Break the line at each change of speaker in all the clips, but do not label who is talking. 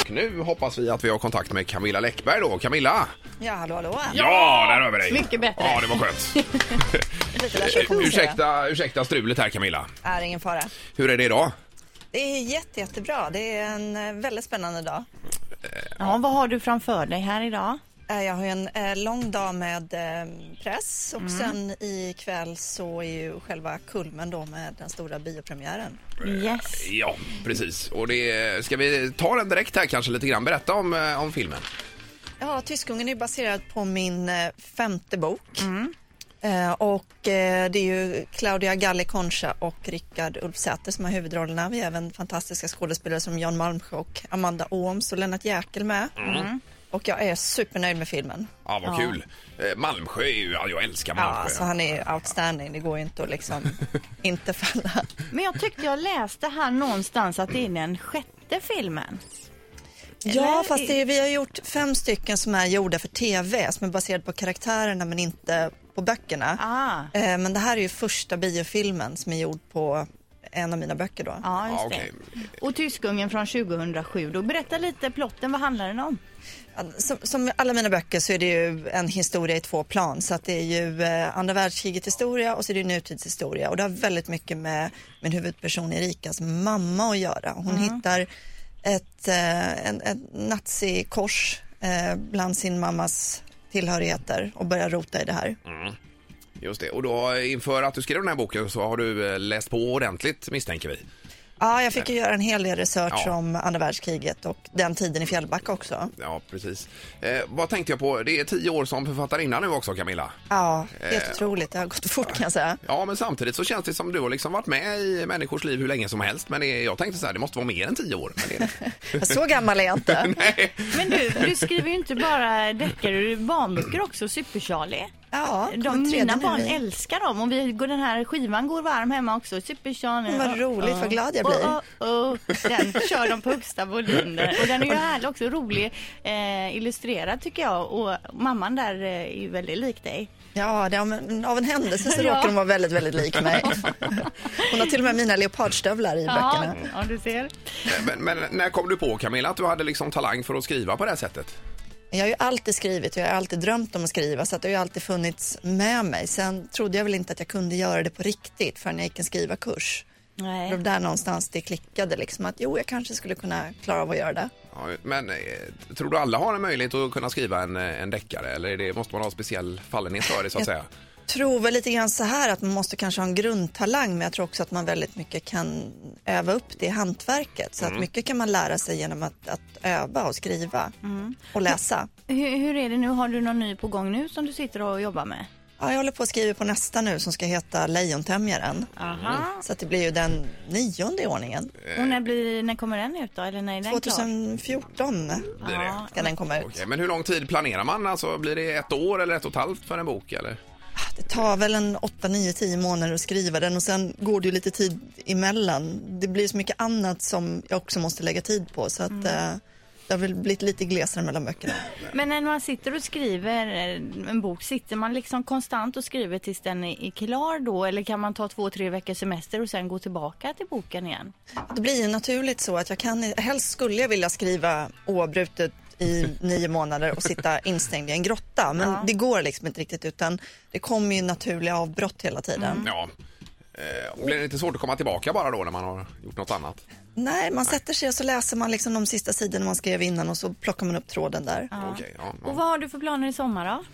Och nu hoppas vi att vi har kontakt med Camilla Läckberg då. Camilla!
Ja, hallå, hallå.
Ja, där har vi dig!
Mycket bättre.
Ja, det var skönt.
Lite version, tror
ursäkta, ursäkta strulet här Camilla.
jag. Är ingen fara.
Hur är det idag?
Det är jätte, jättebra. Det är en eh, väldigt spännande dag.
Ja, vad har du framför dig här idag?
Eh, Jag har ju en eh, lång dag med eh, press och sen ikväll så är ju själva kulmen då med den stora biopremiären.
Yes.
Ja, precis. Och det, ska vi ta den direkt här kanske lite grann? Berätta om, eh, om filmen.
Ja, Tyskungen är baserad på min eh, femte bok. Eh, Och eh, det är ju Claudia Galli Concha och Rickard Ulfsäter som har huvudrollerna. Vi har även fantastiska skådespelare som Jan Malmsjö och Amanda Ooms och Lennart Jäkel med. Och jag är supernöjd med filmen.
Ja, vad kul. Eh, Malmsjö är ju, ja, jag älskar
Ja,
Malmsjö.
alltså han är outstanding. Det går ju inte att liksom inte falla.
Men jag tyckte jag läste här någonstans att det är den sjätte filmen.
Ja,
Eller-
fast det är, vi har gjort fem stycken som är gjorda för tv, som är baserade på karaktärerna men inte på böckerna.
Ah.
Eh, Men det här är ju första biofilmen som är gjord på en av mina böcker då.
Ja, just
Ja, okej.
det. Och Tyskungen från 2007. Då berätta lite plotten, vad handlar den om?
Som, som i alla mina böcker så är det ju en historia i två plan. Så att det är ju eh, andra världskrigets historia och så är det ju nutidshistoria. Och det har väldigt mycket med min huvudperson Erikas mamma att göra. Hon hittar ett, eh, en, ett nazikors eh, bland sin mammas tillhörigheter och börjar rota i det här.
Mm. Just det. Och då, eh, inför att du skrev den här boken så har du eh, läst på ordentligt misstänker vi.
Ja, jag fick ju göra en hel del research
Ja.
om andra världskriget och den tiden i Fjällbacka också.
Ja, precis. Eh, vad tänkte jag på? Det är tio år som författarinna nu också Camilla.
Ja, helt otroligt. Det har gått fort kan jag säga.
Ja, men samtidigt så känns det som du har liksom varit med i människors liv hur länge som helst. Men det, jag tänkte så här, det måste vara mer än tio år. Men det,
Så gammal är jag inte.
nej.
Men du, du skriver ju inte bara deckare, du barnböcker också, Super-Charlie.
Ja, kommer
De,
tredje
mina
nu
barn
i-
älskar dem och vi går, den här skivan går varm hemma också, Super-Charlie.
Vad
Oh,
roligt,
oh.
vad glad jag blir.
Oh, oh, oh. Den kör de på högsta volym där. Och den är ju härlig också, rolig, eh, illustrerad tycker jag. Och mamman där eh, är ju väldigt lik dig.
Ja, det, av, en, av en händelse så
Ja.
råkar hon vara väldigt, väldigt lik mig. Hon har till och med mina leopardstövlar i
Ja,
böckerna.
ja du ser.
Men, men när kom du på Camilla att du hade liksom talang för att skriva på det här sättet?
Jag har ju alltid skrivit och jag har alltid drömt om att skriva så att det har ju alltid funnits med mig. Sen trodde jag väl inte att jag kunde göra det på riktigt förrän jag gick en skrivarkurs. Det
Nej.
var där någonstans det klickade liksom att jo, jag kanske skulle kunna klara av att göra det.
Ja, men eh, tror du alla har en möjlighet att kunna skriva en, eh, en deckare? Eller är det, måste man ha speciell fallenhet för det så att säga?
tror väl lite grann så här att man måste kanske ha en grundtalang men jag tror också att man väldigt mycket kan öva upp det hantverket.
Mm.
Så att mycket kan man lära sig genom att, att öva och skriva
Mm.
och läsa.
Hur, hur är det nu, har du någon ny på gång nu som du sitter och jobbar med?
Ja, jag håller på att skriva på nästa nu som ska heta Lejontämjaren.
Aha.
Så att det blir ju den nionde i ordningen.
Mm. Och när, blir, när kommer den ut då? Eller när är den klar?
2014
Blir det?
Ja.
ska den komma ut.
Okej, men hur lång tid planerar man? Alltså, blir det ett år eller ett och ett halvt för en bok? Eller?
Det tar väl en 8, 9, 10 månader att skriva den och sen går det ju lite tid emellan. Det blir så mycket annat som jag också måste lägga tid på så att eh, det har väl blivit lite glesare mellan böckerna.
Men när man sitter och skriver eh, en bok, sitter man liksom konstant och skriver tills den är är klar då? Eller kan man ta två, tre veckors semester och sen gå tillbaka till boken igen?
Det blir ju naturligt så att jag kan, helst skulle jag vilja skriva oavbrutet i nio månader och sitta instängd i en grotta men det går liksom inte riktigt utan det kommer ju naturliga avbrott hela tiden.
Ja. Eh, blir det inte svårt att komma tillbaka bara då när man har gjort något annat?
Nej, man sätter sig och så läser man liksom de sista sidorna man skrev innan och så plockar man upp tråden där.
Okej, ja, ja.
Och vad har du för planer i sommar då?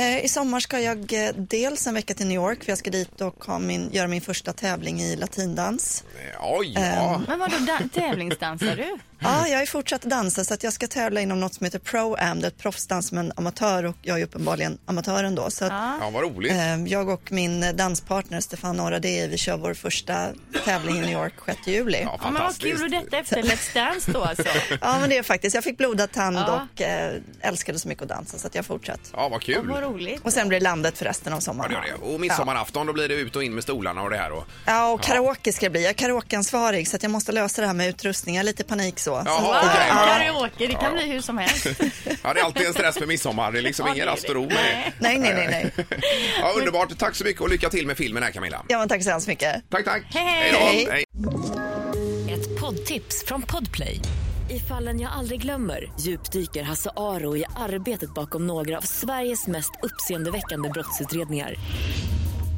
Eh, I sommar ska jag eh, dels en vecka till New York för jag ska dit och ha min, göra min första tävling i latindans.
Eh, Oj, ja.
Ehm. Men vadå, da- tävlingsdansar du?
Mm.
Ja, jag är fortsatt dansa så att jag ska tävla inom något som heter Pro-Am, det är ett proffsdans med en amatör och jag är uppenbarligen amatören då. Så att,
Ja, vad roligt.
eh, jag och min danspartner Stefan Norradei, vi kör vår första tävling i New York 6 juli.
Ja,
Ja, men vad kul och
fantastiskt.
detta efter Let's Dance då alltså.
Ja, men det är faktiskt. Jag fick blodad tand
Ja.
och eh, älskade så mycket att dansa så att jag fortsatt.
Ja, vad
Ja,
kul.
vad roligt.
Och sen blir det landet för resten av
Ja,
sommaren.
det gör det. Och midsommarafton, då blir det ut och in med stolarna och det här. Och...
Ja, och karaoke ska det bli. Jag är karaokeansvarig så att jag måste lösa det här med utrustning. Jag har lite panik så.
Jaha,
så
Wow,
att,
okej.
ja.
karaoke, det kan bli hur som helst.
Ja, det är alltid en stress med midsommar. Det är liksom
Ja,
ingen
det är
rast och ro
det.
med det.
Nej, nej, nej, nej.
Ja, underbart. Tack så mycket och lycka till med filmen här Camilla.
Ja, men tack så hemskt mycket.
Tack, tack.
Hej, hej.
då.
Hej.
Hej.
Ett poddtips från Podplay. I fallen jag aldrig glömmer djupdyker Hasse Aro i arbetet bakom några av Sveriges mest uppseendeväckande brottsutredningar.